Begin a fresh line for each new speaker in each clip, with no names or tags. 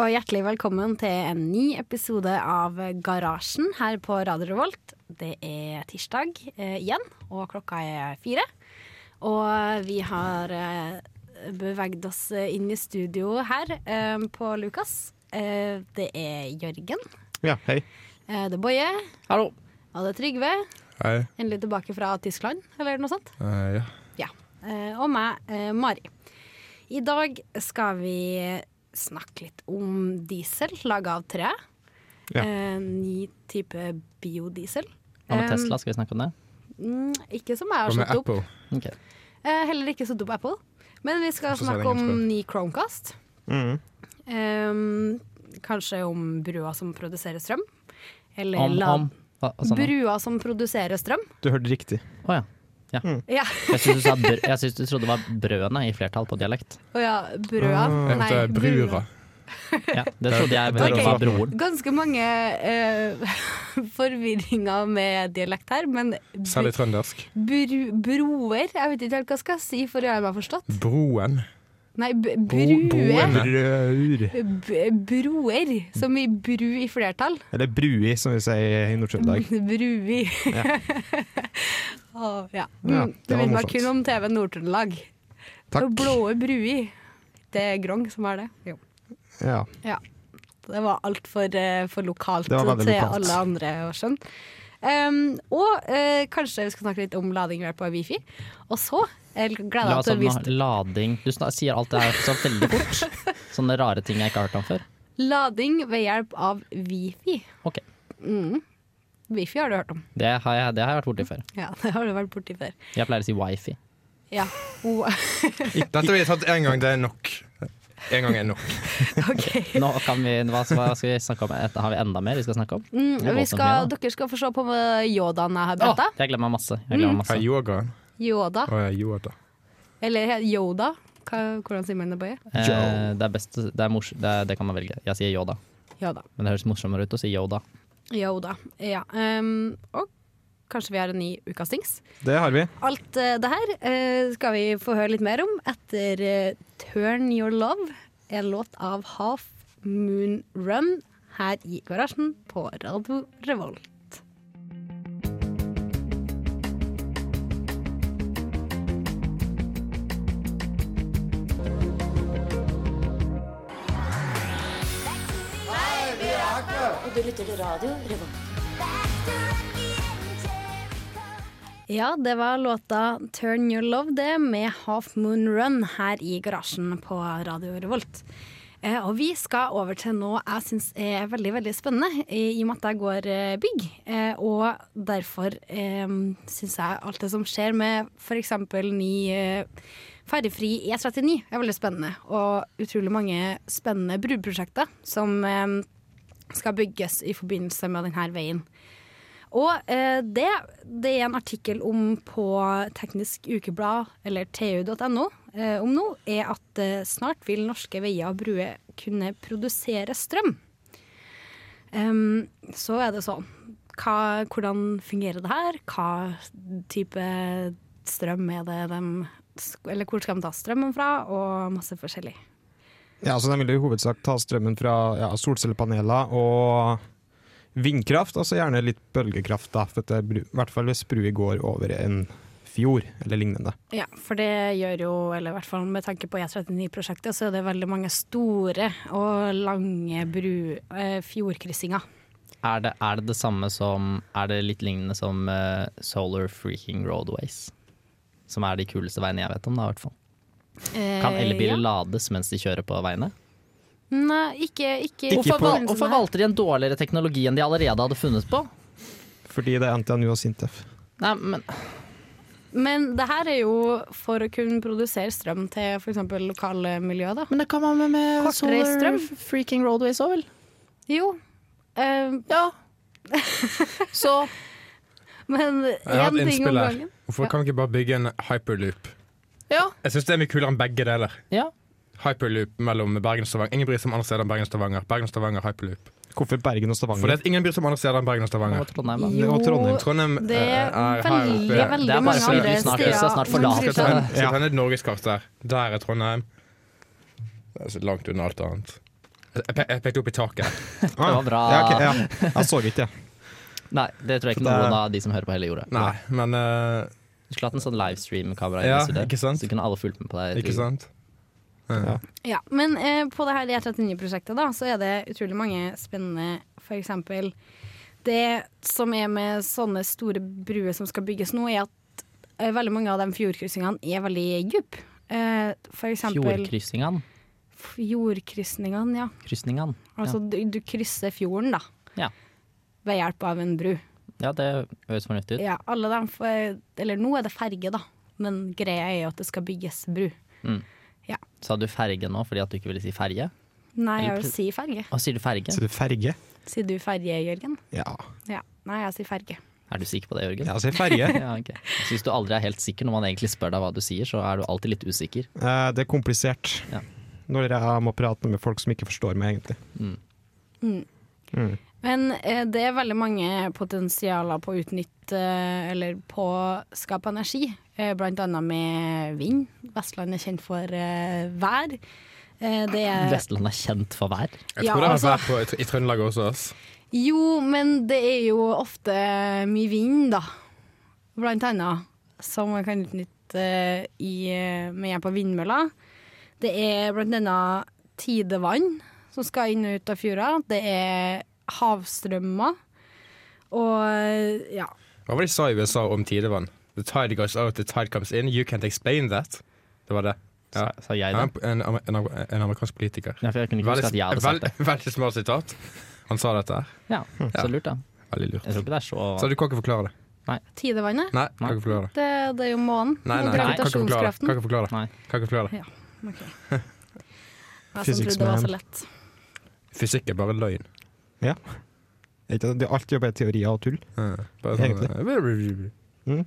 og hjertelig velkommen til en ny episode av Garasjen her på Radio Revolt. Det er tirsdag eh, igjen, og klokka er fire. Og vi har eh, beveget oss inn i studio her eh, på Lukas. Eh, det er Jørgen,
Ja, hei.
eh, det er Boje,
Hallo.
og det er Trygve.
Hei.
Endelig tilbake fra Tyskland, eller noe sånt.
Eh, ja.
Eh, og meg, eh, Mari. I dag skal vi snakke litt om diesel laga av tre.
Ja.
Eh, ny type biodiesel.
Hva med
Um,
Tesla, skal vi snakke om det?
Mm, ikke som jeg har
Hva med
slått opp.
Apple?
Ok.
Eh, heller ikke slått opp Apple. Men vi skal
Hvorfor sa jeg
snakke
det
om
engelsk
ny Chromecast. Ehm, kanskje om brua som produserer strøm. Eller
Om,
la-
om hva, altså, nå.
Brua som produserer strøm.
Du hørte riktig.
Å ja.
Ja,
Jeg syns du, sa br- jeg synes du trodde det var brødene i flertall på dialekt.
og ja, brua.
Ah. Jeg
Nei,
heter Brura.
Ja, det trodde jeg vel
Ok.
egentlig var broren.
Ganske mange eh, forvirringer med dialekt her, men br
Særlig trøndersk.
bru- broer Jeg vet ikke helt hva jeg skal si for å gjøre meg forstått.
Broen.
Nei, b
Bro-
brue.
broen.
Brur.
B broer, som i bru i flertall.
Eller brui, som vi sier i Nord-Trøndelag.
Brui. Å, ja.
Ja,
Mm,
det
det
var
minner meg
morsomt.
kun om TV Nord-Trøndelag.
Takk.
Og Blåe brui. Det er Grong som har det. Jo.
Ja.
Det var altfor uh, for lokalt
Det var veldig
til
lokalt.
alle andre å skjønne. Um, og eh, kanskje vi skal snakke litt om lading ved hjelp av wifi. Og så jeg gleder
La
jeg meg
oss
til å
ha
vise
lading Du snak- sier alt det her så veldig fort. Sånne rare ting jeg ikke har hørt om før.
lading ved hjelp av wifi.
Ok,
Wifi har du hørt om.
Det har jeg, det har jeg vært borti før.
Ja, det har du vært borti før.
Jeg pleier å si wifi.
Ja. O-
Dette har vi tatt én gang, det er nok. En gang er nok.
OK.
Nå kan vi, hva, hva skal vi snakke om? Et- Har vi enda mer vi skal snakke om?
Mm,
Det er
vi
voldsomt
skal,
mye, da.
dere skal få se på eh, yodaen jeg har
Å,
bretta.
jeg glemmer masse. Jeg
Mm.
glemmer
Har
masse.
yogaen.
Yoda.
Å ja, yoda.
Eller he- Yoda. Hva, hvordan sier man det, Bøye?
Eh, det er best å- det, er mors, det, er, det kan man velge. Jeg sier Yoda,
Yoda.
men det høres morsommere ut å si Yoda.
Yoda. Ja. Um, og kanskje vi har en ny Ukas Dings.
Det har vi.
Alt eh, det her eh, skal vi få høre litt mer om etter eh, 'Turn Your Love', en låt av Half Moon Run, her i garasjen på Radio Revolt.
Og du lytter til radio Revolt.
Ja, det var låta 'Turn Your Love', det, med Half Moon Run her i garasjen på Radio Revolt. Eh, og vi skal over til noe jeg syns er veldig veldig spennende, i i og med at jeg går eh, bygg. Eh, og derfor eh, syns jeg alt det som skjer med f.eks. ny eh, ferjefri E39 er veldig spennende. Og utrolig mange spennende bruprosjekter som eh, skal bygges i forbindelse med denne veien. Og eh, det, det er en artikkel om på Teknisk Ukeblad, eller tu.no, eh, om nå, er at eh, snart vil norske veier og bruer kunne produsere strøm. Em, så er det sånn. Hva, hvordan fungerer det her? Hva type strøm er det de sk- Eller hvor skal de ta strømmen fra? Og masse forskjellig.
Ja, så De vil i hovedsak ta strømmen fra ja, solcellepaneler og vindkraft, altså gjerne litt bølgekraft, da, for det er bru- i hvert fall hvis brua går over en fjord eller lignende.
Ja, for det gjør jo, eller i hvert fall med tanke på E39-prosjektet, så er det veldig mange store og lange bru, eh, fjordkryssinger.
Er det, er det det samme som Er det litt lignende som eh, Solar Freaking Roadways? Som er de kuleste veiene jeg vet om, da, i hvert fall.
Eh,
Kan elbiler
ja.
lades mens de kjører på veiene?
Nei, ikke, ikke,
Hvorfor,
på
val- hvorfor valgte de en dårligere teknologi enn de allerede hadde funnet på?
Fordi det er NTNU og Sintef.
Nei, men
Men det her er jo for å kunne produsere strøm til f.eks. lokalmiljø, da.
Men det kan man med, med
Kortreist solar strøm.
freaking roadways òg, vel?
Jo. Eh,
Ja. Så
men
Jeg har
én ting om
et innspill her.
gangen.
Hvorfor kan vi ikke bare bygge en hyperloop?
Ja.
Jeg syns det er mye kulere enn begge deler.
ja.
Hyperloop mellom Bergen og Stavanger. Ingen bryr seg om andre steder enn Bergen og Stavanger. Bergen og Stavanger hyperloop.
Hvorfor Bergen og
For
Stavanger?
det at ingen bryr seg om andre steder enn Bergen og
Nå
Stavanger.
var Trondheim, da.
Det var Trondheim.
Trondheim
Det
eh,
er
er her
veldig,
oppe.
veldig
Det er bare
mange
så
andre
vi snart-
steder.
så
man
snart forlater
bryr
Skal
seg om.
ta en- skal ta ned et norgeskart der. Der er Trondheim. Det er så langt unna alt annet. Jeg, pe jeg pekte opp i taket.
Det
var bra.
Ja, ok, ja. Jeg så ikke det.
Nei, det tror jeg
Så
ikke
det-
noen av de som hører på hele jorda.
Nei, men eh,
Du skulle hatt en sånn livestream-kamera.
Ja,
inne i studio,
ikke sant?
Så kunne alle fulgt med på deg.
Ikke sant?
Ja.
Ja, men eh, på det her E39-prosjektet da, så er det utrolig mange spennende, for eksempel det som er med sånne store bruer som skal bygges nå, er at eh, veldig mange av de fjordkryssingene er veldig djup. Eh, for eksempel
Fjordkrysningene.
fjordkrysningene, ja.
Krysningene.
Altså du, du krysser fjorden da,
Ja.
ved hjelp av en bru.
Ja, det høres fornuftig ut.
Ja, alle dem, får- eller nå er det ferge da, men greia er jo at det skal bygges bru.
Sa du ferge nå fordi at du ikke ville si ferge?
Nei, jeg
Eller
vil
pl-
si ferge.
Å, sier du ferge?
Sier du ferge?
Sier du ferge, Jørgen?
Ja.
Ja. Nei, jeg sier ferge.
Er du sikker på det, Jørgen?
Jeg sier ferge.
Ja, ok. Jeg synes du aldri er helt sikker når man egentlig spør deg hva du sier, så er du alltid litt usikker.
Eh, Det er komplisert.
Ja.
Når jeg må prate med folk som ikke forstår meg, egentlig.
Men eh, det er veldig mange potensialer på å utnytte eh, eller på å skape energi. Eh, blant annet med vind. Vestlandet er kjent for eh, vær. Eh, det er
Vestlandet er kjent for vær.
Jeg tror
Ja,
det har
altså-
vært på, i, Tr- i Trøndelag også. Ass.
Jo, men det er jo ofte mye vind, da. Blant annet. Som man kan utnytte eh, i, med hjelp av vindmøller. Det er blant annet tidevann som skal inn og ut av fjorda. Det er havstrømmer. Og eh, ja.
Hva var det de sa i USA om tidevann? The tide goes out, the tide comes in. You can't explain that. Det var det. Ja.
Sa, sa jeg
Ja,
det?
En, en, en, en amerikansk politiker.
Ja, for jeg kunne ikke
Veldig,
huske at jeg hadde sagt det.
veld- veldig smart sitat. Han sa dette her.
Ja, Så lurt, da.
Veldig lurt.
Jeg tror ikke det er så
Så du kan ikke forklare det?
Tidevannet?
Nei, kan ikke forklare det.
Det, det er jo månen.
Nei, nei,
og
kan ikke forklare det.
gravitasjonskraften.
Kan ikke forklare det.
Nei.
Kan ikke forklare det.
Ok. Jeg som
Physics
trodde det var
man.
så lett.
Fysikk er bare løgn.
Er ikke det- det- Alt jobber i teorier og tull.
Ja, Bare sånn, eh,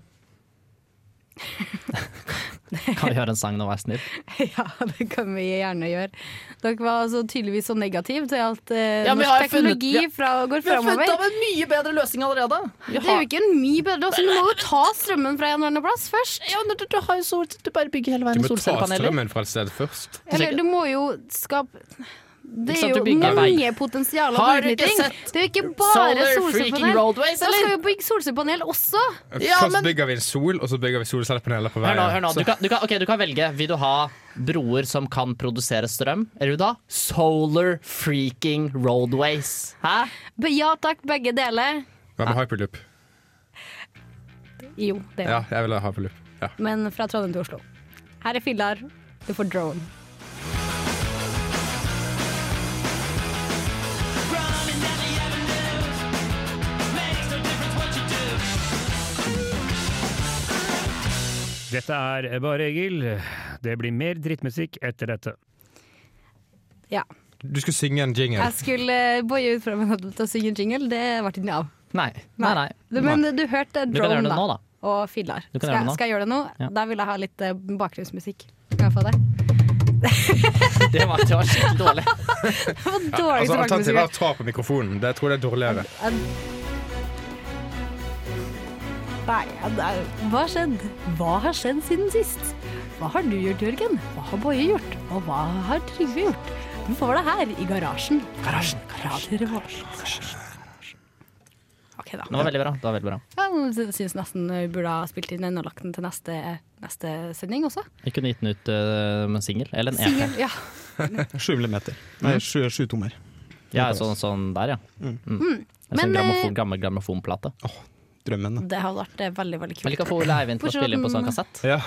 Kan vi høre en sang nå, vær snill?
Ja, det kan vi gjerne gjøre. Dere var altså tydeligvis så negative til at eh,
Ja, men
norsk
jeg har funnet-
teknologi
ja.
fra, går framover.
en mye bedre løsning allerede!
Det er jo ikke en mye bedre løsning. Du må jo ta strømmen fra en eller annen plass først.
du, har jo sol, du bare bygger hele
Du
verden
må ta strømmen fra et sted først.
Eller du må jo skape Det
Ikke
er
sant,
jo
du bygger
mange potensialer
Har
for
du ikke
utnytting.
sett
Det er jo ikke bare solcellepanel.
roadways,
Da skal vi bygge solcellepanel også.
Ja,
Først
men-
bygger vi en sol, og så bygger vi solcellepaneler på
Hør
veien.
nå, hør nå.
Så-
Du kan, du, kan, ok, du kan velge. Vil du ha broer som kan produsere strøm? Eller vil du ha solar freaking roadways? Hæ?
Be- Ja takk, begge deler.
Hva med hyperloop?
Jo, det er
Ja, jeg vil ha hyperloop. Ja.
men fra Trondheim til Oslo. Her er Fillar, du får drone.
Dette er bare Egil. Det blir mer drittmusikk etter dette.
Ja.
Du skulle synge en jingle.
Jeg skulle eh, boie ut fra meg til å synge en jingle, det ble ikke noe av.
Nei. Nei, nei.
Du, men du hørte
Du kan
drone,
gjøre det
da.
nå, da.
Og Fillar.
Du kan
Skal,
gjøre det nå.
skal jeg gjøre det nå?
Ja.
Da vil jeg ha litt eh, bakgrunnsmusikk. Kan jeg få det?
Det var, det var skikkelig dårlig.
Det var dårlig
Altså, Alternativet er
tilbakemusikk.
å ta på mikrofonen. Det jeg tror jeg er dårligere.
Nei, ja, det er- hva har skjedd? Hva har skjedd siden sist? Hva har du gjort, Jørgen? Hva har Boje gjort? Og hva har Trygve gjort? Du får det her, i garasjen. Garasjen, garasjen, Ok da.
Det var veldig bra. Det var veldig bra.
Jeg syns nesten vi burde ha spilt inn den og lagt den til neste, neste sending også.
Vi kunne gitt den ut øh, med en singel. Eller en EP.
Singel, ja.
Sju millimeter. Nei, sju, sju tommer.
Ja, sånn, sånn der, ja. Mm. En
Men,
sånn
eh,
grammofon, gammel grammofonplate.
Drømmen.
Det hadde vært eh, veldig veldig
Men
kult.
ikke få Ole Eivind til å spille inn på sånn kassett.
Ja.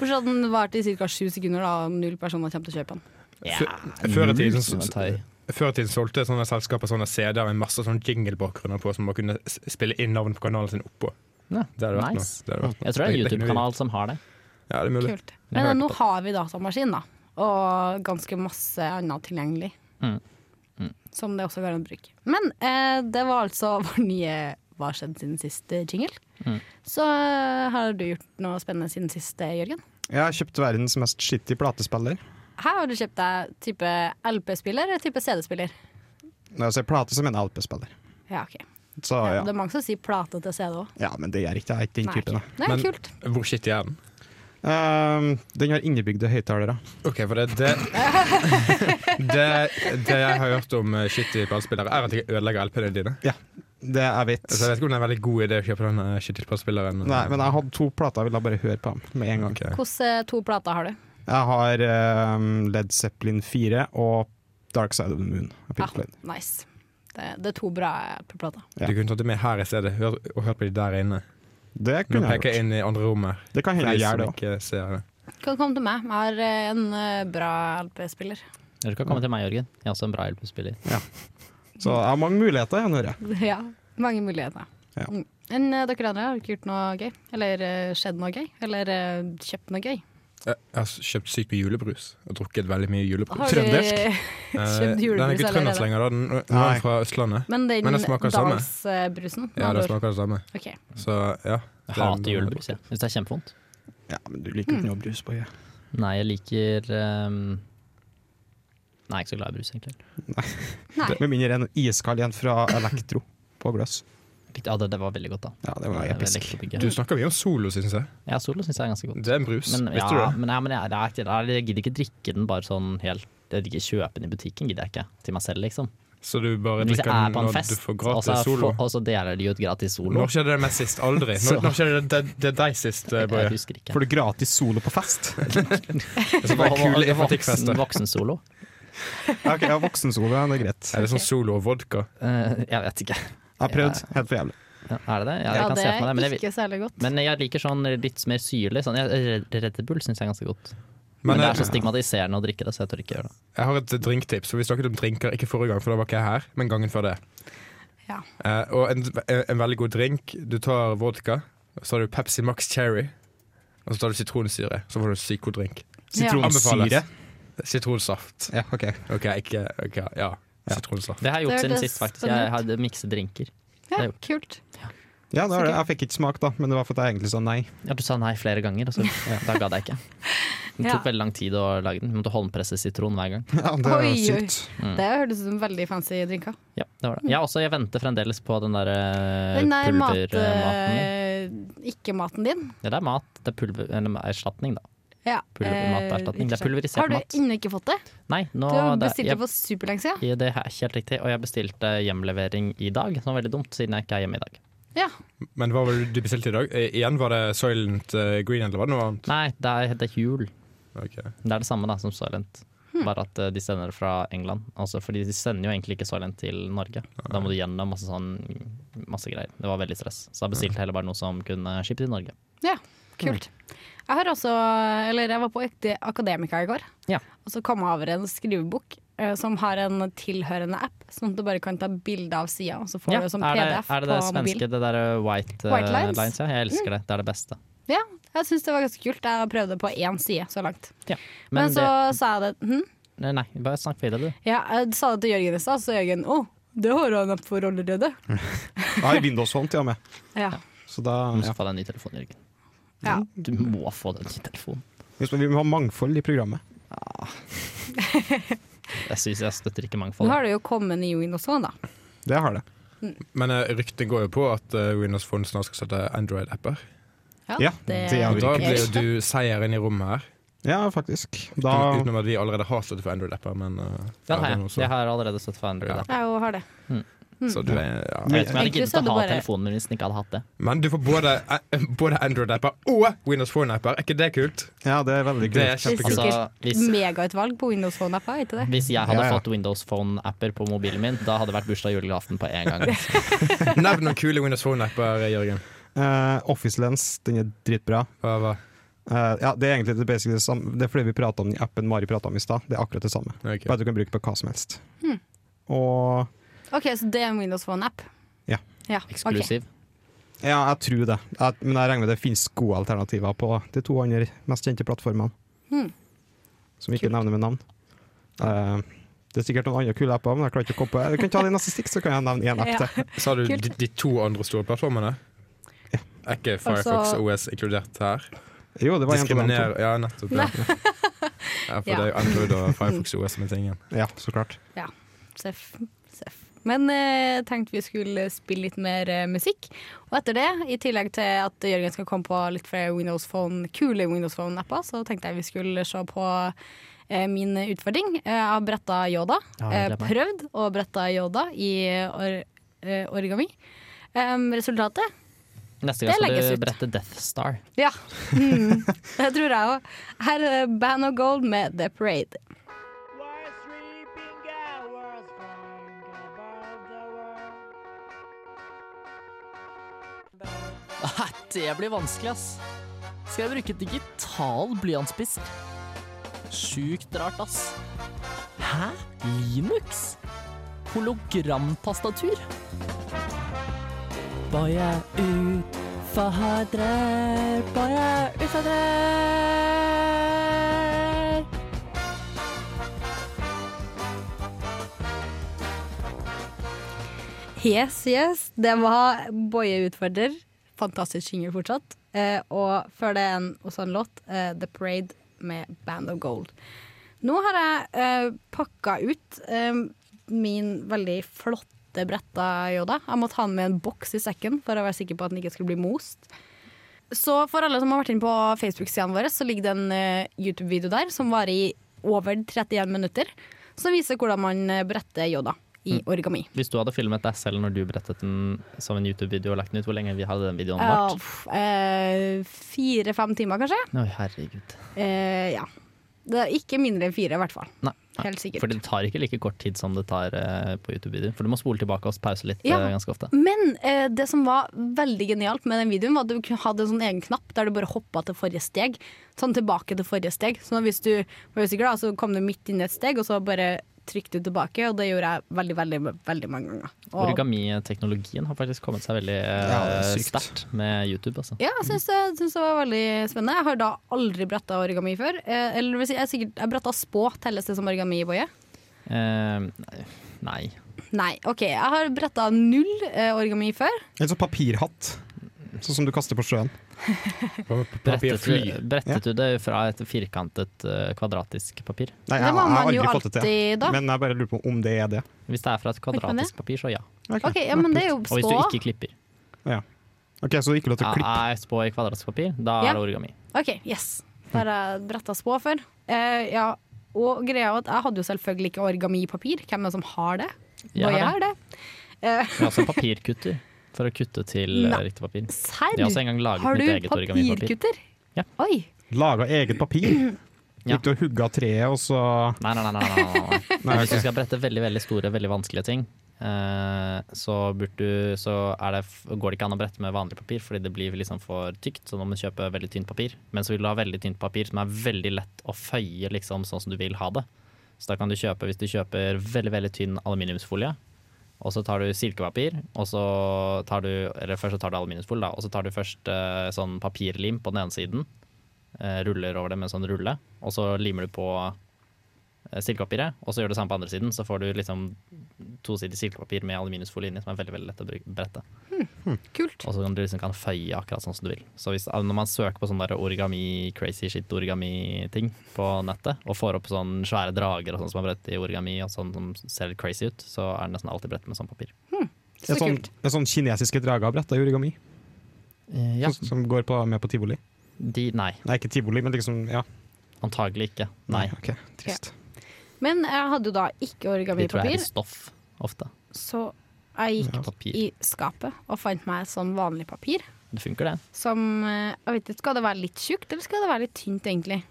Bortsett fra at den varte i ca. sju sekunder, da, og null personer kommer til å kjøpe den.
Ja,
Før- Før i tiden,
som en thai.
før i tiden solgte sånne selskaper sånne CD-er med masse sånn jingle-bakgrunner på, som man kunne s- spille inn navnet på kanalen sin oppå.
Ja,
Det hadde vært
nice.
noe. Det hadde vært noe.
Jeg tror det er
Det- det kunne
en
vi
YouTube-kanal som har det.
gjort. Ja, det er mulig.
Kult. Men
hørte
nå
på det.
har vi datamaskin, da. Og ganske masse annet tilgjengelig.
Mm. Mm.
Som det også går an å bruke. Men eh, det var altså vår nye Hva har skjedd siden sist eh, jingle.
Mm.
Så eh, har du gjort noe spennende siden sist, eh, Jørgen?
Jeg har kjøpt verdens mest shitty platespiller.
Her har du kjøpt deg type LP-spiller eller type CD-spiller?
Når jeg sier plate, så mener jeg LP-spiller.
Ja, ok.
Så
Ja,
Ah, ja.
Det er mange som sier plate til CD òg.
ja, men det gjør ikke jeg. Jeg er ikke den typen.
Det
Men-
er kult.
Hvor shitty er den?
Ehm, den har innebygde høyttalere.
Ok, for det det, det det jeg har hørt om eh, shitty platespillere, er at de ødelegger LP-ene dine.
Det jeg vet.
Så jeg vet ikke om det er en veldig god idé å kjøpe den eh, shitty platespilleren.
Nei, men jeg hadde to plater, jeg ville bare høre på dem med en gang.
Ok.
Hvilke eh, to plater har du?
Jeg har ehm, Led Zeppelin 4 og Dark Side of the Moon. av Pink
Ja,
Floyd.
nice. Det, det er to bra eh, plater.
Ja.
Du kunne tatt det med her i stedet hør, og hørt på de der inne.
Det
Nå
kunne
peker
jeg
jeg
gjort.
inn i andre rommet.
Det kan
For
hende jeg
de
gjør
som
det òg.
ikke ser det.
Kan komme til meg. Jeg har eh, en eh, bra LP-spiller.
Dere
Mm.
kan komme til meg, Jørgen. Jeg er også en bra LP-spiller.
Så jeg har mange muligheter, jeg, Nøre.
Ja, mange muligheter.
Ja.
Mm. Enn eh, dere andre, har dere gjort noe gøy? Eller eh, skjedd noe gøy? Eller eh, kjøpt noe gøy?
Jeg jeg har kjøpt sykt mye julebrus. Og drukket veldig mye julebrus.
Har Du
Eh,
kjøpt
Den er
julebrus
ikke
allerede?
trøndersk lenger, da. Den, den
Nei.
er fra Østlandet.
Men den
Men det smaker det samme.
dalsbrusen?
Ja, det smaker det samme.
Ok.
Så ja.
Jeg hater julebrus. Jeg syns det er kjempevondt.
Ja, men du liker ikke noe brus på øyet.
Nei, jeg liker ehm, Nei, jeg er ikke så glad i brus, egentlig.
Nei.
Med mindre en iskald en fra Elektro på glass.
Litt- Ja, det, det var veldig godt, da.
Ja, det var
Det er
episk.
veldig godt å
Du
drikke.
snakker mye om Solo, syns jeg.
Ja, Solo syns jeg er ganske godt.
Det er en brus.
Men,
Visste
ja,
du det?
men, ja, men jeg, det er ikke- jeg, gidder ikke drikke den bare sånn helt Jeg gidder ikke kjøpe den i butikken, gidder jeg ikke. Til meg selv, liksom.
Så du bare
Men hvis
drikker
jeg er
den
på en
når du
fest,
får
og
gratis
så
Solo?
får- og så deler de ut gratis Solo
Når skjedde det mest sist? Aldri.
Så-
Når, når skjedde det, det, det deg sist, eh,
Jeg, jeg
Boje?
husker ikke.
Får du gratis solo på fest?
Det var kule
voksen,
informatikkfester.
voksen-solo?
Ja, ok, ja, Voksensolo, ja, det er greit.
Er det sånn solo og vodka?
Eh, jeg vet ikke.
Jeg har prøvd, helt for jævlig.
Ja, er det det? Ja, jeg
Ja,
kan
det
se for meg det. Men
er
jeg, vil-
ikke særlig godt.
men jeg liker sånn litt mer syrlig. Sånn, jeg, Red Bull syns jeg er ganske godt. Men,
Men eh, jeg,
det er så stigmatiserende å drikke det, så jeg tør ikke gjøre det.
jeg har et drinktips. For Vi snakket om drinker ikke forrige gang, for da var ikke jeg her, men gangen før det.
Ja.
Eh, og en, en veldig god drink. Du tar vodka, så har du Pepsi Max Cherry, og så tar du sitronsyre. Så får du en sykt god drink.
Sitronsyre.
Anbefales. Sitronsaft.
Ja, ok.
OK, ikke OK, ja. Sitronsaft.
Det har jeg gjort
Det
siden
hørtes
sist, faktisk.
sånn
Jeg
ut.
hadde mikset drinker.
Ja,
Det er jo-
kult.
Ja, det var det. Jeg fikk ikke smak, da, men det var fordi jeg egentlig sa nei.
Ja, du sa nei flere ganger, og så da gadd jeg ikke. Det
Ja.
tok veldig lang tid å lage den. Du måtte håndpresse sitron hver gang.
Ja, det var
Oi, oi.
sykt.
Mm.
Det høres ut som veldig fancy drinker.
Ja, det var det. Ja, også, jeg venter fremdeles på den der
Mm.
eh,
Den der mat...
pulvermaten min.
eh, Ikke-maten din.
Ja, det er mat. Det er pulver... Eller erstatning, da.
Ja.
Pulvermaterstatning.
eh,
Det er pulverisert
Har du
mat.
ennå ikke fått det?
Nei, nå
Du har
det,
bestilt det
jeg,
for superlenge siden.
ja, det er helt riktig. Og jeg bestilte hjemlevering i dag, som var veldig dumt, siden jeg ikke er hjemme i dag.
Ja.
Men hva var det du bestilte i dag? Eh, igjen var det Soylent eh, Green, eller var det noe annet?
Nei, det er, det er jul.
Ok.
Det er det samme da som Soylent,
Hmm.
bare at eh, de sender det fra England. Altså, fordi de sender jo egentlig ikke Soylent til Norge. Da må du gjennom masse, sånn, masse greier. Det var veldig stress. Så jeg bestilte heller bare noe som kunne shippe til Norge.
Ja, kult. Jeg har også, eller jeg var på ekte Akademika i går,
Ja.
og så kom jeg over en skrivebok eh, som har en tilhørende app, sånn at du bare kan ta bilde av sida, og så får
Ja,
du det som
er, det,
PDF
er det det
på mobil.
svenske, det der eh, white, eh,
White lines? Hmm.
ja? Jeg elsker det. Det er det beste.
Ja, jeg syns det var ganske kult. Jeg har prøvd det på én side så langt.
Ja.
Men,
Men,
så sa jeg det hm?
det, nei, bare snakk videre, du.
Ja, jeg sa det til Jørgen i stad, så Jørgen å, det har han en app for allerede.
Jeg har Windows Phone til og med.
Ja.
Så da,
Du må
ja.
få deg en ny telefon, Jørgen.
ja.
Du må få deg en ny telefon.
Hvis man- Vi må ha mangfold i programmet.
Jeg syns jeg støtter ikke
Nå
mangfold.
har det jo kommet ny Windows Phone, da.
Det har det.
Men uh, ryktene går jo på at eh, Windows Phone snart skal sette Android-apper.
Ja, det er
Og da
Virkelig.
blir jo du seieren i rommet her.
Ja, faktisk.
Da...
Da
Utenom at vi allerede har støtte for Android-apper, men eh,
Den har
ja,
jeg.
også.
Jeg har Mm. allerede støtt for Android.
Ja.
da.
Jeg har det.
Så du er, ja.
Jeg vet ikke om jeg hadde
Egentlig så
giddet
hadde
å ha
bare-
telefonen min hvis den ikke hadde hatt det.
Men du får både, eh, både Android-apper og Windows Phone-apper. Er ikke det kult?
Ja, det er veldig
Det
Det
kult.
er
er
kjempekult.
sikkert
Altså, hvis-
megautvalg på Windows Phone-appa, ikke det?
Hvis jeg hadde
Ja, ja.
fått Windows Phone-apper på mobilen min, da hadde det vært bursdag og julegaften på en gang.
Nevn noen kule Windows Phone-apper, Jørgen.
Eh, Office Lens, den er dritbra.
Hva, hva?
Eh, ja, det er egentlig det, basically det samme. Det er fordi vi prata om den appen Mari prata om i stad. Det er akkurat det samme.
Ok.
Bare at du kan bruke på hva som helst.
Hmm.
Og
OK, så det er en Windows Phone-app?
Ja.
ja. ok.
Eksklusiv.
ja, jeg tror det. Jeg, men jeg regner med det finnes gode alternativer på de to andre mest kjente plattformene.
Hmm.
Som vi ikke nevner med navn. Eh, det er sikkert noen andre kule apper, men jeg klarer ikke å komme på Jeg kan ta det i neste stikk, så kan jeg nevne én app
Ja.
til.
Sa du
Kult.
de, de to andre store plattformene? Er ikke
Altså-
Firefox og OS inkludert her?
Jo, det var en på navn
Diskriminer Ja, nettopp. Ja. Ja, for
Ja.
det er jo Android og Firefox og OS som er tingen.
Ja, så klart.
Seff. Seff. Men eh, tenkte vi skulle spille litt mer eh, musikk. Og etter det, i tillegg til at Jørgen skal komme på litt flere Windows Phone, kule Windows Phone-apper, så tenkte jeg vi skulle se på eh, min utfordring. Eh, jeg har bretta Yoda.
Ja, jeg
Eh,
gleder meg.
prøvd å brette Yoda i or eh, origami. Em, resultatet?
Neste
Det
gang skal
legges ut.
du brette Death Star.
Ja. Mm. Det tror jeg òg. Her er Band of Gold med The Parade.
Nei, det blir vanskelig, ass. Skal jeg bruke digital blyantspiss? Sjukt rart, ass. Hæ? Linux? Hologramtastatur? Bare utfordrer, bare utfordrer.
Yes, yes. Det var Boje utfordrer. Fantastisk jingle fortsatt. Eh, og før det en, også en låt, eh, The Parade med Band of Gold. Nå har jeg eh, pakka ut eh, min veldig flotte bretta Yoda. Jeg måtte ha den med en boks i sekken for å være sikker på at den ikke skulle bli most. Så for alle som har vært inne på Facebook-sidene våre, så ligger det en eh, YouTube-video der som varer i over 31 minutter, som viser hvordan man eh, bretter Yoda i origami.
Hvis du hadde filmet deg selv når du brettet den som en YouTube-video og lagt den ut, hvor lenge vi hadde den videoen
Ja,
vart?
pff, eh, Fire-fem timer, kanskje.
Oi, herregud.
Eh, ja. Det er ikke mindre enn fire, i hvert fall.
Nei, nei.
Helt sikkert.
For det tar ikke like kort tid som det tar eh, på YouTube-videoer. For du må spole tilbake og pause litt
Ja.
eh, ganske ofte.
Men eh, det som var veldig genialt med den videoen, var at du kunne- hadde en sånn egen knapp der du bare hoppa til forrige steg. Sånn tilbake til forrige steg. Så hvis du var usikker, da, så kom du midt inn i et steg, og så bare trykte du tilbake. Og det gjorde jeg veldig, veldig, veldig mange ganger. Og,
Origamiteknologien har faktisk kommet seg veldig eh,
Ja, det er sykt.
sterkt med YouTube. Altså.
ja, jeg syns det, syns det var veldig spennende. Jeg har da aldri bretta origami før. Eh, eller vil si, jeg, er sikkert, jeg bretta spå, telles det som origami, Boje?
Eh, nei.
Nei, OK. Jeg har bretta null eh, origami før.
En sånn papirhatt, sånn som du kaster på sjøen.
Brettet,
Papirfly.
brettet du det fra et firkantet, eh, kvadratisk papir?
Nei,
Det
jeg,
må
jeg har
man jo
aldri fått det til.
alltid, da.
Men jeg bare lurer på om det er det.
Hvis det er fra et
man det?
kvadratisk papir, så ja.
OK, ja, men det er jo
Og hvis du
spå.
ikke klipper, Ah,
Ok, Så ikke lov til å klippe.
er spå i kvadratisk papir, da
Ja.
er det origami.
OK, yes. Der har jeg bretta spå før. Eh, ja, og greia er at jeg hadde jo selvfølgelig ikke origami-papir. Hvem er det som har det?
Jeg
og jeg
har
har det. Eh,
Men også papirkutter, for å kutte til eh,
Nei.
riktig papir.
serr?
Jeg har også en gang laget
Har
mitt
du
eget origami-papir.
papirkutter?
Ja.
Oi.
Laga eget papir.
Ja.
Gikk du og hugga treet, og så
Nei, nei, nei. nei, nei, nei, nei.
Nei,
Hvis du
ok.
skal brette veldig veldig store, veldig vanskelige ting, eh, så, burde du, så er det, f- går det ikke an å brette med vanlig papir, fordi det blir liksom for tykt. Så nå må du kjøpe veldig tynt papir. Men så vil du ha veldig tynt papir som er veldig lett å føye liksom, sånn som du vil ha det. Så da kan du kjøpe, hvis du kjøper veldig veldig tynn aluminiumsfolie, og så tar du silkepapir, og så tar du Eller først så tar du aluminiumsfolie, da, og så tar du først eh, sånn papirlim på den ene siden. eh, Ruller over det med en sånn rulle, og så limer du på eh, silkepapiret, og så gjør du det samme på andre siden, så får du liksom tosidig silkepapir med aluminiumsfolie inni, som er veldig veldig lett å bruke- brette.
Kult.
Og så kan du liksom kan føye akkurat sånn som du vil. Så hvis, når man søker på sånne der origami, crazy shit origami-ting på nettet, og får opp sånne svære drager og sånn som er brettet i origami, og sånn som ser litt crazy ut, så er det nesten alltid brett med sånn papir.
Så
er sånn,
kult.
er sånn kinesiske drager bretta i origami,
Eh, ja.
som, som går på, med på tivoli.
De, nei,
Nei, ikke tivoli, men liksom Ja.
antagelig ikke. Nei.
Ok, trist.
Men jeg hadde jo da ikke
De tror jeg er
origami-papir,
i stoff ofte.
så jeg gikk
Ja.
Papir.
i skapet og fant meg sånn vanlig papir.
Det funker, det.
Som eh, jeg vet ikke, Skal det være litt tjukt, eller skal det være litt tynt, egentlig?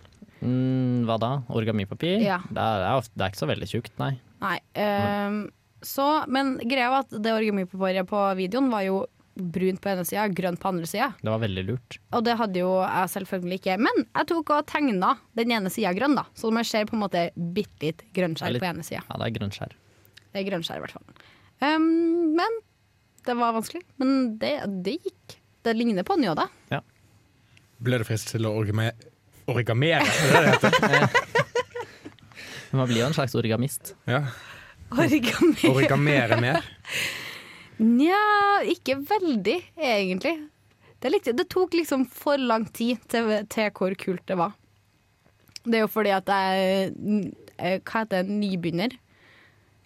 Mm, hva da? Origamipapir?
Ja.
Det, er, det er ofte- det er ikke så veldig tjukt, nei.
Nei. ehm, så, men greia var at det origamipapiret på videoen var jo brunt på ene sida, grønt på andre sida.
Det var veldig lurt.
Og det hadde jo jeg selvfølgelig ikke. Men jeg tok og tegna den ene sida grønn, da. Så man ser på en måte bitte litt grønnskjær
Det er litt-
på ene sida.
Ja, det er grønnskjær.
Det er grønnskjær i hvert fall. Ehm, men det var vanskelig. Men det, det gikk. Det ligner på en yoda.
Ble du fristet til å origame- origamere? Er det det det heter?
Men man blir jo en slags origamist.
Ja.
Origami.
Origamere mer?
Nja, ikke veldig, egentlig. Det, er litt- det tok liksom for lang tid til, til hvor kult det var. Det er jo fordi at jeg eh, Hva heter det? Nybegynner.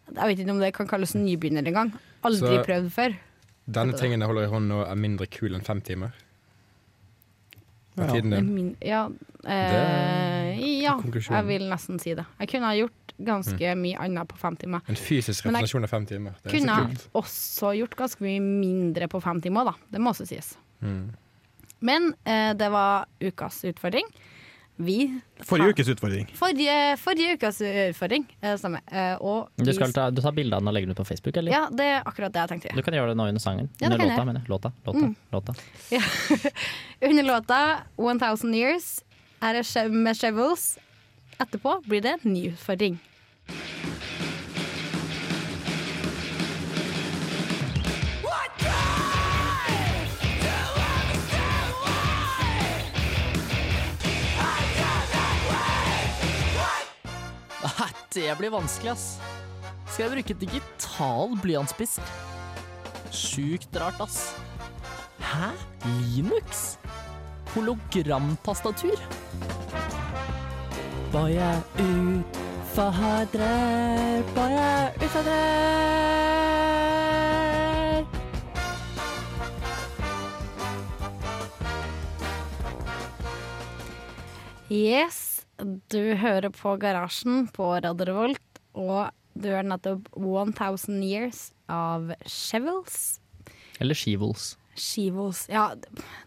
Jeg vet ikke om det kan kalles en nybegynner engang. Aldri
Så-
prøvd før.
Denne tingen jeg holder i hånden nå, er mindre kul enn fem timer.
Ja.
Av tiden din.
Min, ja, eh, ja,
konklusjonen.
jeg vil nesten si det. Jeg kunne ha gjort ganske mye annet på fem timer.
En fysisk
Men jeg
representasjon av fem timer. Mm. Det er
Kunne
så
jeg også gjort ganske mye mindre på fem timer, da. Det må også sies.
kult. Mm.
Men eh, det var ukas utfordring. Vi
Forrige ukes utfordring.
Forrige, forrige ukas utfordring, eh, stemmer. Eh, og
Du,
vi-
skal ta, du tar bilde av den og legger den ut på Facebook, eller?
Ja, det er akkurat det jeg tenkte.
Du kan gjøre det nå under sangen.
Ja, det
under
kan
låta,
jeg. Mm.
mener jeg. Låta. Låta. låta.
Under låta 1000 Years er det Shev- med Shovels. Etterpå blir det en ny utfordring.
Nei, det blir vanskelig, ass. Skal jeg bruke digital blyantspiss? Sjukt rart, ass. Hæ? Linux? Hologramtastatur? Var jeg utfadrer? Var jeg utfadrer?
Yes, du hører på Garasjen på Radio Revolt, og du hører nettopp 1000 Years av Shovels.
Eller Skivols.
Skivos. Ja,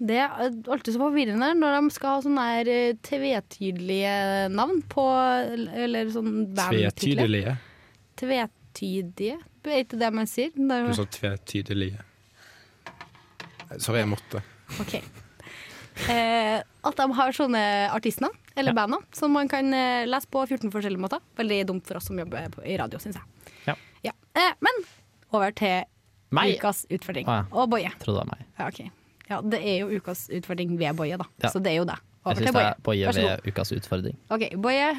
det er alltid så forvirrende når de skal ha sånne her eh, tvetydelige navn på Eller sånn bandtitler.
Tvetydelige.
Tvetydige? Er ikke det man sier? Det er jo-
Du sa tvetydelige. Sorry, jeg måtte.
Ok. Eh, at de har sånne artistnavn, eller bandnavn, som man kan eh, lese på 14 forskjellige måter. Veldig dumt for oss som jobber på, i radio, syns jeg.
Ja.
Eh, men over til
Meg!
ukas utfordring.
Ah, ja.
Og Boje.
Jeg trodde det var meg.
Ja, ok. ja, det er jo ukas utfordring ved Boje, da.
Ja.
Så det er jo det.
Jeg
Over
syns
til
det er på
Boje. Vær så god.
ved ukas utfordring.
Ok, Boje.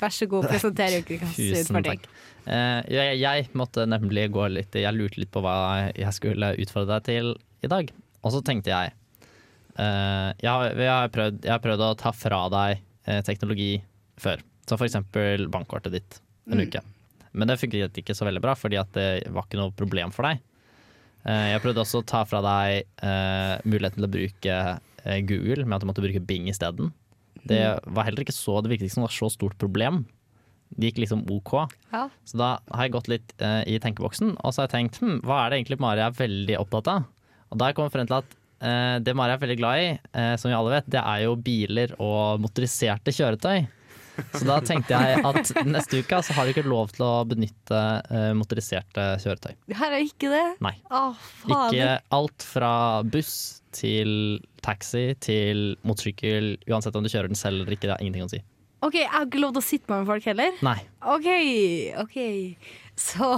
Vær så god, presenter ukas
Tusen
utfordring.
takk. Eh, jeg, jeg måtte nemlig gå litt Jeg lurte litt på hva jeg skulle utfordre deg til i dag. Og så tenkte jeg eh, jeg, har, jeg, har prøvd, jeg har prøvd å ta fra deg eh, teknologi før. Så for eksempel bankkortet ditt en uke. Men det funket ikke så veldig bra, fordi at det var ikke noe problem for deg. Eh, jeg prøvde også å ta fra deg eh, muligheten til å bruke eh, Google, med at du måtte bruke Bing isteden. Det var heller ikke så Det virket ikke som det var så stort problem. Det gikk liksom OK.
Ja.
Så da har jeg gått litt eh, i tenkeboksen, og så har jeg tenkt hm, hva er det egentlig Mari er veldig opptatt av? Og da har jeg kommet frem til at eh, det Mari er veldig glad i, eh, som vi alle vet, det er jo biler og motoriserte kjøretøy. Så da tenkte jeg at neste uke så har du ikke lov til å benytte eh, motoriserte kjøretøy.
Her er ikke det.
Nei.
Å, fader.
Ikke alt fra buss til taxi til motorsykkel, uansett om du kjører den selv eller ikke, det har ingenting å si.
OK, jeg har ikke lov til å sitte med folk heller.
Nei.
OK, OK. Så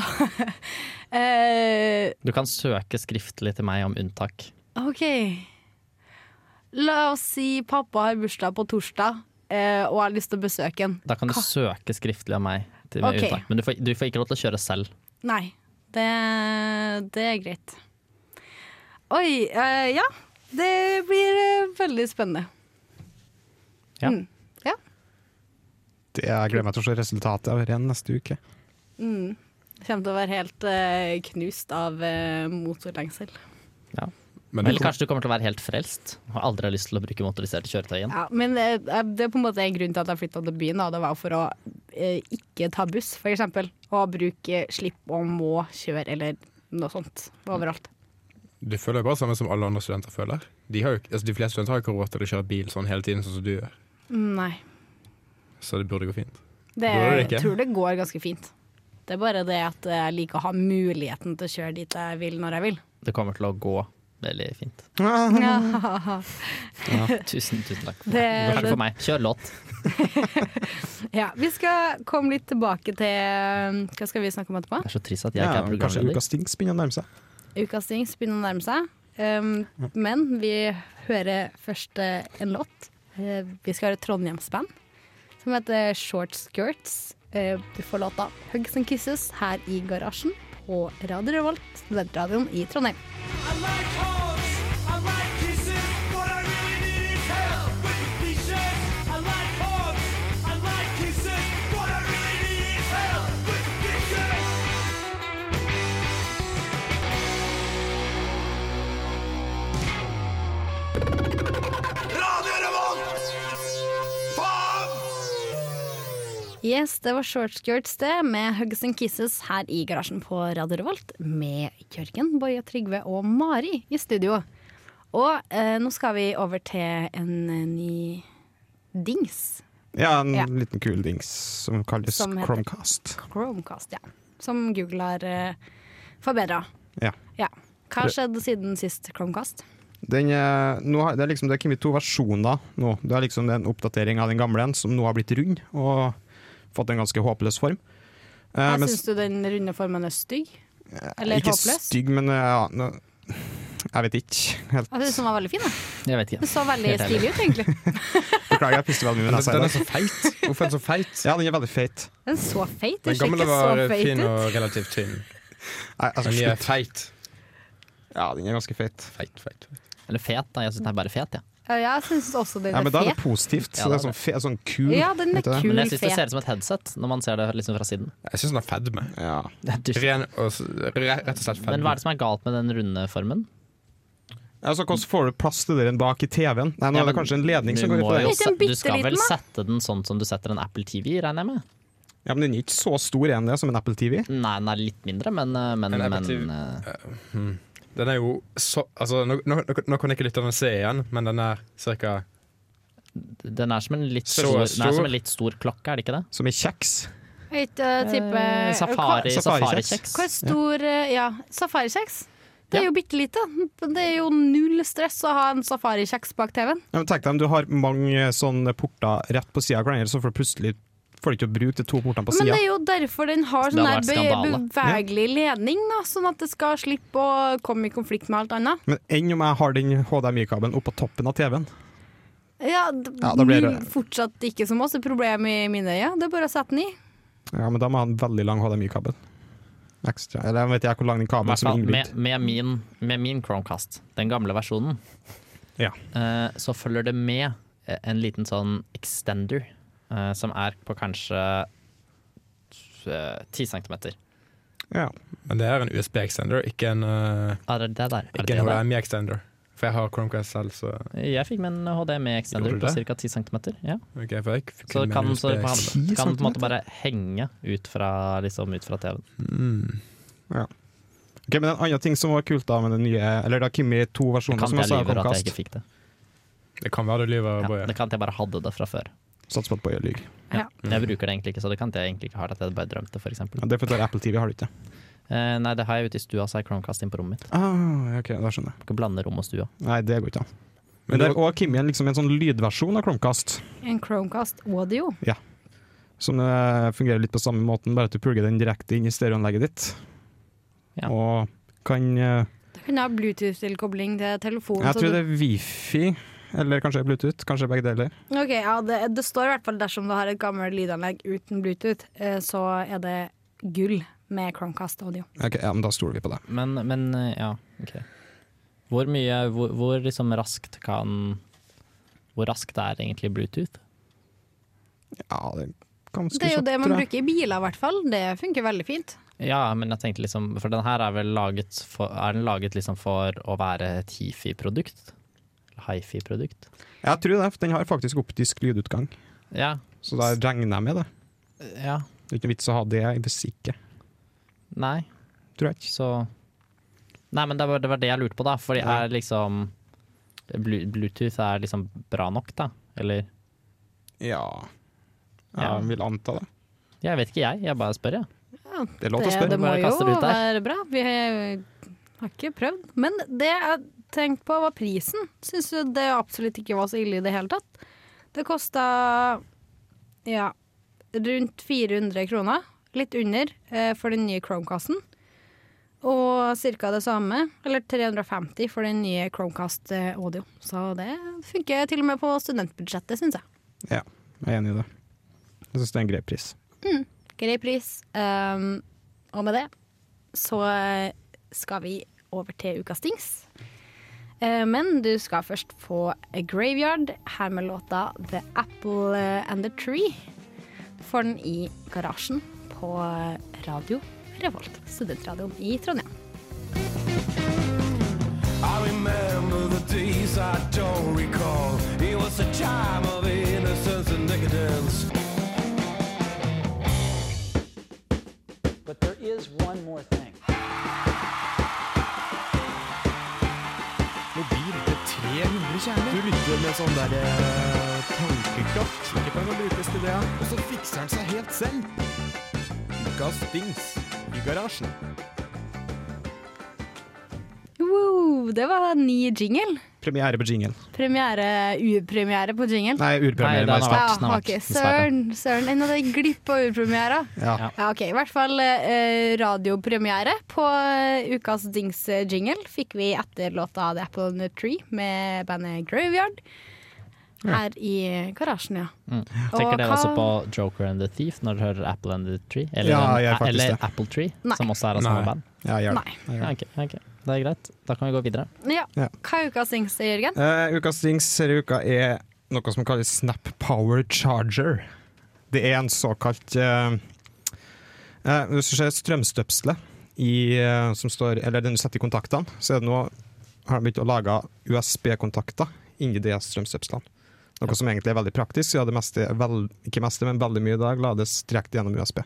eh,
Du kan søke skriftlig til meg om unntak.
OK. La oss si pappa har bursdag på torsdag, eh, og jeg har lyst til å besøke han.
Da kan du søke skriftlig av meg. Til med
Ok.
unntak. Men du får, du får ikke lov til å kjøre selv.
Nei, det, det er greit. Oi, eh, ja. Det blir eh, veldig spennende.
Ja.
Mm. ja.
Det jeg gleder meg til å se resultatet av renn neste uke.
Mm. Kommer til å være helt eh, knust av eh, motorlengsel.
Men
Eller kanskje du kommer til å være helt frelst og aldri har lyst til å bruke motoriserte kjøretøy igjen.
Ja, men eh, det er på en måte en grunn til at jeg flytta til byen. Da. Det var for å eh, ikke ta buss, for eksempel. Og bruke slipp og må kjøre, eller noe sånt. Overalt.
Du føler jo bare samme som alle andre studenter føler. De, har jo, altså, de fleste studenter har jo ikke råd til å kjøre bil sånn hele tiden, sånn som du gjør.
Nei.
Så det burde gå fint.
Det,
Går det
jeg
ikke?
tror det går ganske fint. Det er bare det at jeg liker å ha muligheten til å kjøre dit jeg vil når jeg vil.
Det kommer til å gå veldig fint. Tusen, tusen takk.
Det,
Takk
det,
for meg. Kjør låt.
ja, vi skal komme litt tilbake til eh, Hva skal vi snakke om etterpå?
Det er så trist at jeg
Ja,
ikke er
kanskje
programleder.
ukas Stinks begynner å nærme seg.
Ukas Dings begynner å nærme seg. Um, men vi hører først eh, en låt. Eh, vi skal høre et Trondheims-band som heter Short Skirts. Eh, du får låta 'Hugs and Kisses' her i garasjen på Radio Revolt, studentradioen i Trondheim.
I like hugs, I like kisses. What I really need is help with the cliches. I like hugs, I like kisses. What I really need is help with the cliches.
Yes, det var shortskirts det, med Hugs and Kisses her i garasjen på Radio Revolt. Med Jørgen, Boje, Trygve og Mari i studio. Og eh, nå skal vi over til en eh, ny dings.
Ja, en
Ja.
liten kul dings som kalles
Som heter-
Chromecast.
Chromecast, ja. Som Google har eh, forbedra.
Ja.
Ja. Hva skjedde siden sist Chromecast?
Den, eh, nå har, det, er liksom, det er kommet to versjoner nå. Det er liksom en oppdatering av den gamle en, som nå har blitt rund og fått en ganske håpløs form. Eh,
Jeg
mens- Eh,
Syns du den runde formen er stygg? Eller
ikke
håpløs?
stygg, men eh, ja, nå- jeg vet ikke. Helt.
Jeg syns den var veldig fin. da.
Jeg vet ikke.
Den så veldig
Helt ærlig.
stilig ut, egentlig.
Beklager, jeg pisser veldig mye
Den,
når
altså,
jeg
den
sier
er så feit. Hvorfor er den så feit?
Ja, den er veldig feit.
Den så feit ut.
Den
ser
gamle
ikke så
var
feit
fin
ut.
og relativt tynn.
Nei, altså,
Den nye er
slutt.
feit.
Ja, den er ganske feit.
Feit, feit. feit.
Eller fet, da. Jeg syns den er bare fet, jeg. Ja.
Ja, jeg syns også den
Ja,
er
men da er
fet.
det positivt.
Ja,
så det er
da er
sånn, fe, sånn kul.
Ja, den er
vet du det?
kul.
Men jeg syns det
fet.
ser ut som et headset når man ser det liksom fra siden.
Jeg syns den er fedme.
Ja.
Det er dust.
Ren og s- re- rett og slett fedme.
Men hva er det som er galt med den runde formen?
Altså, hvordan får du plass til den bak i TV-en? Nei, nå
Ja,
er det
men
kanskje en ledning som
du
går ut
må
på
jo
den.
Litt en
se- Du skal
bitteliten,
vel
da.
sette den sånn som du setter en Apple TV, regner jeg med?
Ja, men den er ikke så stor enn det, som en Apple TV.
Nei, den er litt mindre, men, eh, men,
En Apple
men
TV.
eh,
Den er jo så Altså, nå, nå, nå- nå kan ikke lytterne se igjen, men den er ca.
den er som en litt
Så
stor,
stor.
Den er som en litt stor klokke, er det ikke det?
Som er kjeks.
Høyt, eh, type
Eh, Safari,
hva-
Hva,
safarikjeks.
hvor stor eh, Ja, safarikjeks. Det er
Ja.
jo bitte lite. Det er jo null stress å ha en safarikjeks bak TV-en.
Ja, men tenk deg om du har mange eh, sånne porter rett på sida av hverandre, så får du plutselig får du ikke å bruke de to portene på
Men det
sida.
er jo derfor den har
Det
sånn
hadde
der
vært
be-
skandale.
bevegelig ledning, da, sånn at det skal slippe å komme i konflikt med alt annet.
Men enn om jeg har den HDMI-kabelen oppå toppen av TV-en?
Ja, d-
Ja, da blir
null-
det-
fortsatt ikke som oss, et problem i mine øyne. Det er bare å sette den i.
Ja, men da må jeg ha en veldig lang HDMI-kabel. Ekstra. Eller jeg vet ikke hvor lang den
I
kabelen
hvert
som er
fall med,
innbygd.
med, min, med min Chromecast, den gamle versjonen,
Ja.
eh, så følger det med eh, en liten sånn extender, eh, som er på kanskje eh, 10 cm.
Ja.
Men det er en USB-extender, ikke en, eh,
Er det det der? Er
ikke
det
en
det der?
HDMI-extender. For jeg har Chromecast selv, så
Jeg fikk med en HDMI extender
Gjorde du
på
det?
ca. 10 cm. Ja.
ok, for jeg fikk
Så
kun en
kan, så kan,
USB-extender.
USB.
kan den på en måte bare henge ut fra, liksom, ut fra TV-en.
Mm.
Ok, men En annen ting som var kult da med den nye Eller da Kimmi to
Det
versjoner
kan
som
ikke
jeg
jeg
sa
lyver at jeg
Comcast.
ikke fikk det.
Det kan være du lyver,
Ja,
Boje.
det kan at jeg bare hadde det fra før.
Sats på at Boje lyver.
Ja.
Men
Mm.
Jeg bruker det egentlig ikke, så det kan at jeg egentlig ikke har det at jeg bare drømte, for eksempel.
Mm. Ja, det er fordi du har Apple TV, har du ikke? det?
Eh, nei, det har jeg ute i stua, så har jeg Chromecast inn på rommet mitt.
Ah, ok, da skjønner jeg.
Kan ikke blande rom og stua.
Nei, det går ikke an.
Men
Men det er
det-
også Kimmi en- liksom en sånn lydversjon av Chromecast.
En Chromecast audio.
Som eh, fungerer litt på samme måten, bare at du plugger den direkte inn i stereoanlegget ditt.
Ja.
Og kan eh,
Det kan ha Bluetooth-tilkobling til telefonen.
Jeg
så
tror
du-
det er Wifi, eller kanskje Bluetooth. Kanskje begge deler.
Ok, ja, det, det står i hvert fall dersom du har et gammelt lydanlegg uten Bluetooth, eh, så er det gull med Chromecast audio.
Ok, ja, men Da stoler vi på det.
Men, men eh, ja, ok. Hvor mye, hvor, hvor liksom raskt kan Hvor raskt er egentlig Bluetooth?
Ja, det er ganske
Det er jo
kjapt,
det man
tror jeg.
bruker i biler i hvert fall. Det funker veldig fint.
Ja, men jeg tenkte liksom For den her er vel laget for, er den laget liksom for å være et hifi-produkt? Hifi-produkt?
Jeg tror det, for den har faktisk optisk lydutgang.
Ja.
Så da regner jeg med det.
ja.
Det er ikke noe vits å ha det hvis ikke,
Nei.
tror jeg ikke.
Så Nei, men det var det, var det jeg lurte på, da. Fordi er liksom Blu- Bluetooth er liksom bra nok, da? Eller
Ja,
Ja.
jeg vil anta det.
Jeg vet ikke, jeg. Jeg bare spør, jeg.
Ja,
Det er lov til å
Det,
spørre.
det må
Bare kaster det
jo
ut der.
være bra. Vi har ikke prøvd. Men det jeg tenkte på var prisen. Syns jo det absolutt ikke var så ille i det hele tatt. Det kosta ja, rundt 400 kroner, litt under, eh, for den nye Chromecasten. Og ca. det samme, eller 350 for den nye Chromecast eh, Audio. Så det funker til og med på studentbudsjettet, syns jeg.
Ja, jeg er enig i det. Jeg syns det er en grei pris.
Grei pris. Um, og med det så skal vi over til ukas dings. Eh, Men du skal først få A Graveyard, her med låta The Apple and the Tree. Du får den i garasjen på radio Revolt, studentradioen i Trondheim.
I remember the days I don't recall. It was a time of innocence and decadence.
But there is one more thing.
Mobil til 300 kjerner. Du lytter med sånn der eh, tankekraft. Ikke kan brukes til det. Og så fikser han seg helt selv. Ukas dings i garasjen.
Wow, det var en ny jingle.
Premiere på jingle.
Premiere, Urpremiere på jingle.
Nei,
Nei, den
urpremiere.
har
Nei,
vært.
snart.
Ja,
den har
har
vært,
ikke
dessverre.
søren, søren. Ennå det glipp av urpremierer.
Ja.
Ja.
Ja, OK. I hvert fall eh, radiopremiere på eh, ukas Dings-jingle fikk vi etter låta The Apple on the Tree med bandet Graveyard. Her i garasjen, ja.
Mm.
Tenker dere
hva-
også på Joker and the Thief når dere hører Apple and the Tree? Eller,
Ja, jeg
den,
gjør faktisk
eller
det.
Apple Tree,
Nei.
som også er av samme
Nei.
band?
Ja, jeg gjør det.
Nei.
Jeg gjør
Ja,
det.
ok, ok. Det er greit. Da kan vi gå videre.
ja.
Ja.
Hva er ukas Dings, Jørgen?
Eh, ukas dings denne uka er noe som kalles Snap Power Charger. Det er en såkalt eh, eh, Hvis du ser strømstøpselet i, eh, som står, eller den du setter i kontaktene, så er det nå har de begynt å lage USB-kontakter inni de strømstøpslene. Noe som egentlig er veldig praktisk, siden det meste, vel, ikke meste, men veldig mye i dag lades direkte gjennom USB.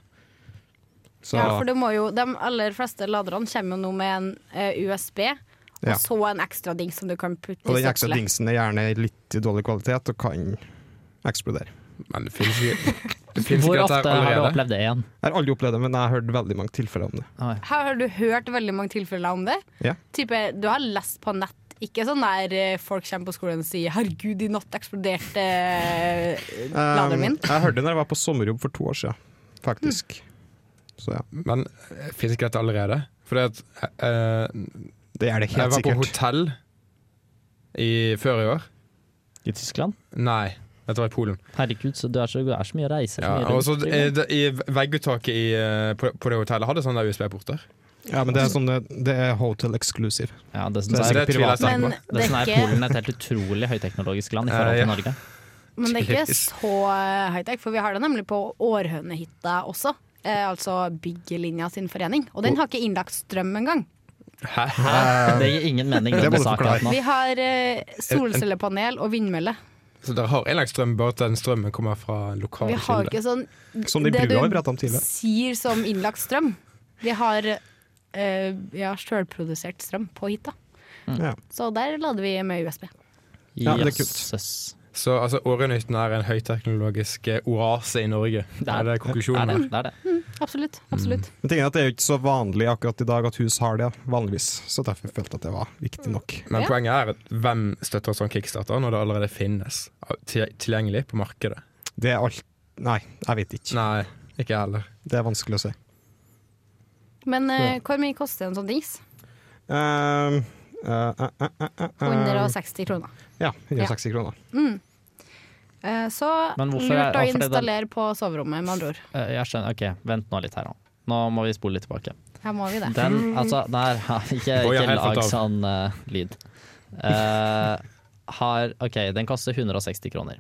Så,
Ja, for det må jo, De aller fleste laderne kommer jo nå med en eh, USB, og
Ja.
så en ekstra dings som du kan putte
og
i
den ekstra
søpselet.
dingsen er gjerne litt i dårlig kvalitet og kan eksplodere.
Men det finnes ikke det finnes
Hvor
ikke
ofte
dette her
har du
allerede.
opplevd det igjen?
Jeg har aldri opplevd det, men jeg har hørt veldig mange tilfeller om det.
Her har du hørt veldig mange tilfeller om det.
Ja.
Type, du har lest på nett. Ikke sånn der eh, folk kommer på skolen og sier 'herregud, i natt eksploderte eh, laderen min'.
Um, jeg hørte det når jeg var på sommerjobb for to år siden, faktisk. Så ja,
Men eh, finnes ikke dette allerede? Fordi at eh,
det er det
jeg
helt
var på
sikkert.
hotell i, før i år.
I Tyskland?
Nei, dette var i Polen.
Herregud, så du er så, du er så mye reiser. Så
Ja,
mye
og så
rundt.
eh, det- I vegguttaket i, eh, på, på det hotellet hadde sånne der USB-porter.
Ja, men det er, sånn, det- det er hotel exclusive.
ja, det,
Så
det,
det
er,
tviler jeg
privat,
Men
sterkt på.
det
det
som
er
er
ikke,
Polen et helt utrolig høyteknologisk land i
Eh,
forhold
ja.
til Norge.
men det er ikke
tydeligvis.
så eh, high-tech, for vi har det nemlig på Århønehytta også. Eh, altså Byggelinja sin forening. Og den har ikke innlagt strøm engang.
Hæ?
Det gir ingen mening.
Det må
denne
du
saken
forklare.
at nå.
Vi har eh, solcellepanel og vindmølle.
Så dere har innlagt strøm, bare at den strømmen kommer fra en lokal
Vi har jo
kilde?
ikke sånn
Som de
det
brua vi
du
pratet om tidligere.
sier som innlagt strøm. Vi har eh, ja, sjølprodusert strøm på hytta.
Mm.
Ja.
Så der lader vi med USB.
Ja, det er kult.
Jøsses.
Så altså, Årøynytten er en høyteknologisk eh, oase i Norge.
Det
Det
er-
er det
Det er
konklusjonen.
det.
her.
det, er det.
Absolutt. absolutt.
Men tingen er at det er jo ikke så vanlig akkurat i dag at hus har det, vanligvis. Så derfor følte jeg at det var viktig nok.
Men
Ja.
poenget er at hvem støtter en sånn kickstarter når det allerede finnes av- til- tilgjengelig på markedet?
Det er alt Nei, jeg vet ikke.
Nei, ikke jeg heller.
Det er vanskelig å si.
Mm.
Men eh, hvor mye koster en sånn dings?
Um, eh, eh, eh, eh, eh,
160 kroner.
ja, 160 kroner.
Eh, så
Men hvorfor er-
lurt å
hvorfor er det-
installere på soverommet, med andre ord.
Eh, Jeg skjønner. Ok, vent nå litt her nå. Nå må vi spole litt tilbake.
Her må vi det.
Den, altså, der, ikke,
Oi, jeg har
ikke
fått
lag
av.
sånn eh, lyd. Eh, har, ok, den koster 160 kroner.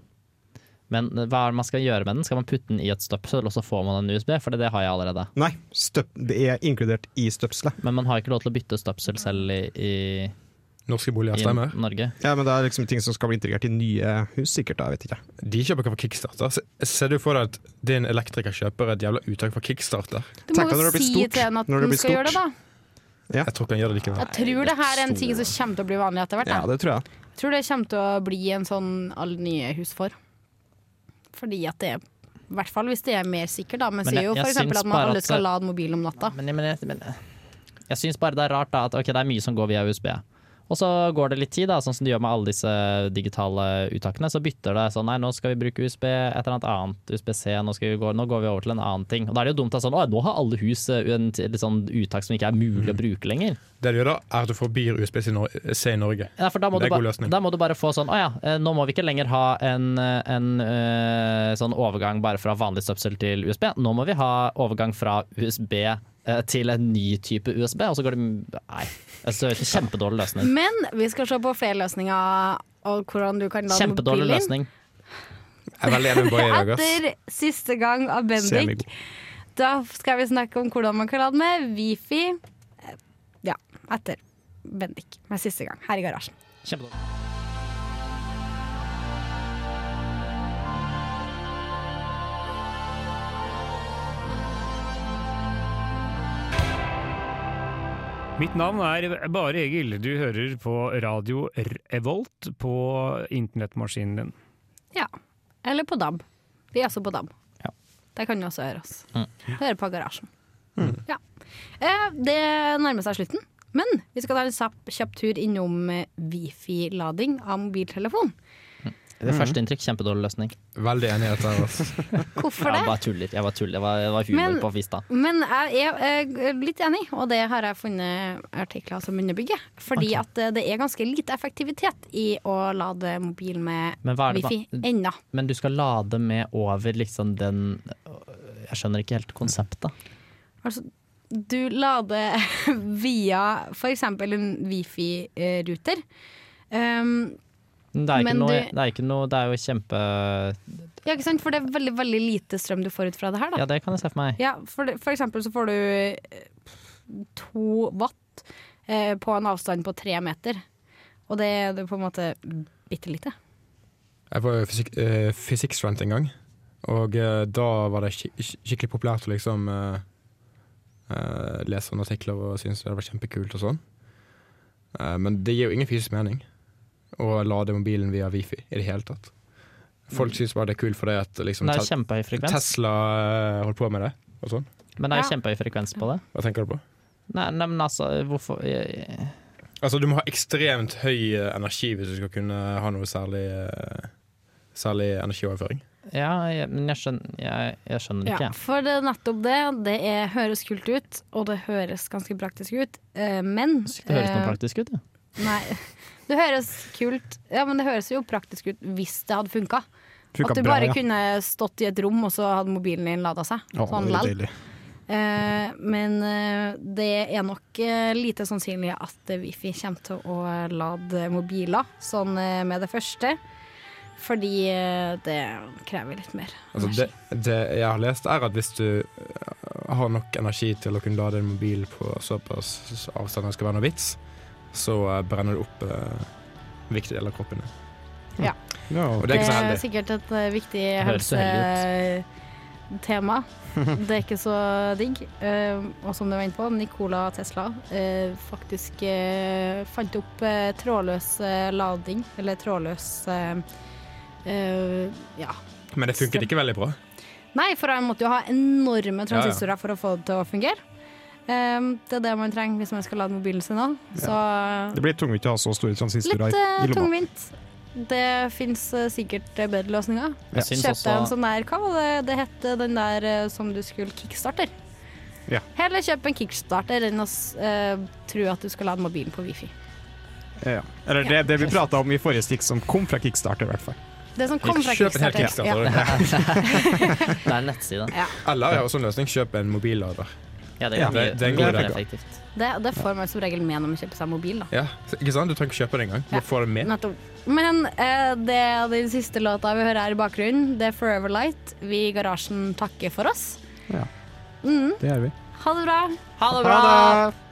Men hva er det man skal gjøre med den? Skal man putte den i et støpsel, og så får man en USB? For det, det har jeg allerede.
Nei, støp, det er inkludert i støpselet.
Men man har ikke lov til å bytte støpsel selv i, i,
Norske boliger
i
stemmer.
Norge.
Ja, men det er liksom ting som skal bli integrert i nye hus, sikkert. da, Jeg vet ikke.
De kjøper ikke fra kickstarter. Se- Ser du for deg at din elektriker kjøper et jævla uttak fra kickstarter?
Du må
tenk deg
jo
når det blir
si
stort.
til henne at
Når det
den
blir
skal gjøre det,
stort.
da.
Jeg tror ikke han gjør det likevel.
Jeg tror det her er en ting som kommer til å bli vanlig etter hvert.
Ja,
jeg.
det tror jeg.
Jeg tror det kommer til å bli en sånn alle nye hus får. Fordi at det er i hvert fall hvis det er mer sikkert, da. Men
Men
sier
jeg-
jo
jeg
f.eks.
syns
at man
bare
alle
at-
skal lade mobilen om natta.
Men, men, jeg- men jeg syns bare det er rart da, at ok, det er mye som går via USB. Og så går det litt tid, da, sånn som det gjør med alle disse digitale uttakene. Så bytter det sånn nei, nå skal vi bruke USB, et eller annet annet, USB-C, nå, skal vi gå, nå går vi over til en annen ting. Og da er det jo dumt at sånn, å, nå har alle hus eh, en, t- litt sånn uttak som ikke er mulig å bruke lenger.
Det du gjør da, er at du forbyr USB-C i Nor- C i Norge.
Ja, for da må,
Det
du
er god
ba,
løsning.
da må du bare få sånn Å ja, eh, nå må vi ikke lenger ha en, eh, en eh, sånn overgang bare fra vanlig støpsel til USB. Nå må vi ha overgang fra USB eh, til en ny type USB, og så går det Nei. Altså, det er kjempedårlig løsning.
Men vi skal se på flere løsninger og hvordan du kan lade
Kjempedårlig
mobilen.
løsning.
Jeg er veldig enig med Boje i dag, ass.
Etter siste gang av Bendik,
Semigod.
da skal vi snakke om hvordan man kan lade med Wifi. Eh, Ja, etter Bendik. Med siste gang her i garasjen.
Kjempedårlig.
Mitt navn er Bare Egil. Du hører på Radio Revolt på internettmaskinen din.
Ja. Eller på DAB. Vi er også på DAB.
Ja.
Der kan du også høre oss.
Mm.
Høre på garasjen. Ja. Eh, det nærmer seg slutten, men vi skal ta en kjapp, kjapp tur innom eh, wifi-lading av mobiltelefon.
Det
Mhm.
første inntrykk, kjempedårlig løsning.
Veldig enig i dette. her, altså.
Hvorfor
Jeg
det?
bare tuller. Jeg bare tuller. Det var, det var humor
Men-
på fista.
Men jeg er eh, litt enig, og det har jeg funnet artikler som underbygger. Fordi
Ok.
at eh, det er ganske lite effektivitet i å lade mobil med
Men hva er det da?
wifi ennå.
Men du skal lade med over liksom den Jeg skjønner ikke helt konseptet.
Altså, du lader via f.eks. en wifi-ruter. Um,
Det er, ikke
Men
noe,
du-
det er ikke noe Det er jo kjempe
ja, ikke sant? For det er veldig, veldig lite strøm du får ut fra det her, da.
Ja, det kan jeg se for meg.
Ja, for, det- for eksempel så får du eh, to watt eh, på en avstand på tre meter. Og det er det på en måte bitte lite.
Jeg var jo fysik eh, fysikkstudent en gang, og eh, da var det skik skikkelig populært å liksom eh, eh, lese sånne artikler og synes det var kjempekult og sånn. Eh, men det gir jo ingen fysisk mening å lade mobilen via wifi i det hele tatt. Folk synes bare det er kult fordi at liksom,
Det er
te-
kjempehøy frekvens.
Tesla eh, holdt på med det og sånn.
Men det er
Ja.
kjempehøy frekvens på det.
Hva tenker du på?
Nei, nei men altså, hvorfor jeg-
Altså, du må ha ekstremt høy eh, energi hvis du skal kunne ha noe særlig, eh, særlig energioverføring.
Ja, jeg, men jeg skjønner, jeg, jeg skjønner ikke,
Ja,
jeg.
for det er nettopp det. Det er, høres kult ut, og det høres ganske praktisk ut, eh, men
Det høres noe
eh,
praktisk ut, ja.
Nei. Det høres kult Ja, men det høres jo praktisk ut hvis det hadde funka. At du bare kunne stått i et rom, og så hadde mobilen din lada seg. sånn lell. Eh, men eh, det er nok eh, lite sannsynlig at eh, Wifi kommer til å lade mobiler sånn eh, med det første. Fordi eh, det krever litt mer.
Altså det, det jeg har lest er at hvis du eh, har nok energi til å kunne lade en mobil på såpass avstand at det skal være noe vits, så eh, brenner du opp eh, viktige deler av kroppen. din.
Ja.
Ja, og det er ikke så heldig.
sikkert et eh, viktig
høres så
helsetema. Det er ikke så digg. Eh, og som du var inne på, Nicola Tesla eh, faktisk eh, fant opp eh, trådløs eh, lading, eller trådløs eh, eh, Ja.
Men det funket ikke veldig bra.
Nei, for han måtte jo ha enorme
Ja, ja.
transistorer for å få det til å fungere. Eh, det er det man trenger hvis man skal lade mobilen sin òg. Så eh,
Det blir tungvint å ha så store transistorer
litt
i
eh,
i lomma.
tungvint. Det fins eh, sikkert bedre løsninger.
Jeg syns
Kjøpte
også-
en sånn der, hva var det det het, den der eh, som du skulle kickstarter?
Ja.
Heller kjøp en kickstarter enn å s- eh, tro at du skal lade mobilen på wifi.
Ja. Eller det, det vi prata om i forrige stikk, som kom fra Kickstarter, i hvert fall.
Det som kom fra
Kjøp en hel
kickstarter.
kickstarter.
Ja.
Det er en nettside.
Eller ja, som løsning, kjøp en mobillader.
Ja, det,
Ja,
kan
det-
bli-
det er en
blir
god
mer
idé.
effektivt.
Det, det får man som regel med når man kjøper seg mobil. Da.
Ja, så- ikke sant? Du trenger ikke kjøpe det engang.
Ja.
Du bare får det med.
Nettopp. Men eh, det er den siste låta vi hører her i bakgrunnen. Det er Forever Light. Vi i garasjen takker for oss.
Ja.
Mm,
Det gjør vi.
ha det bra.
Ha det
Ha det!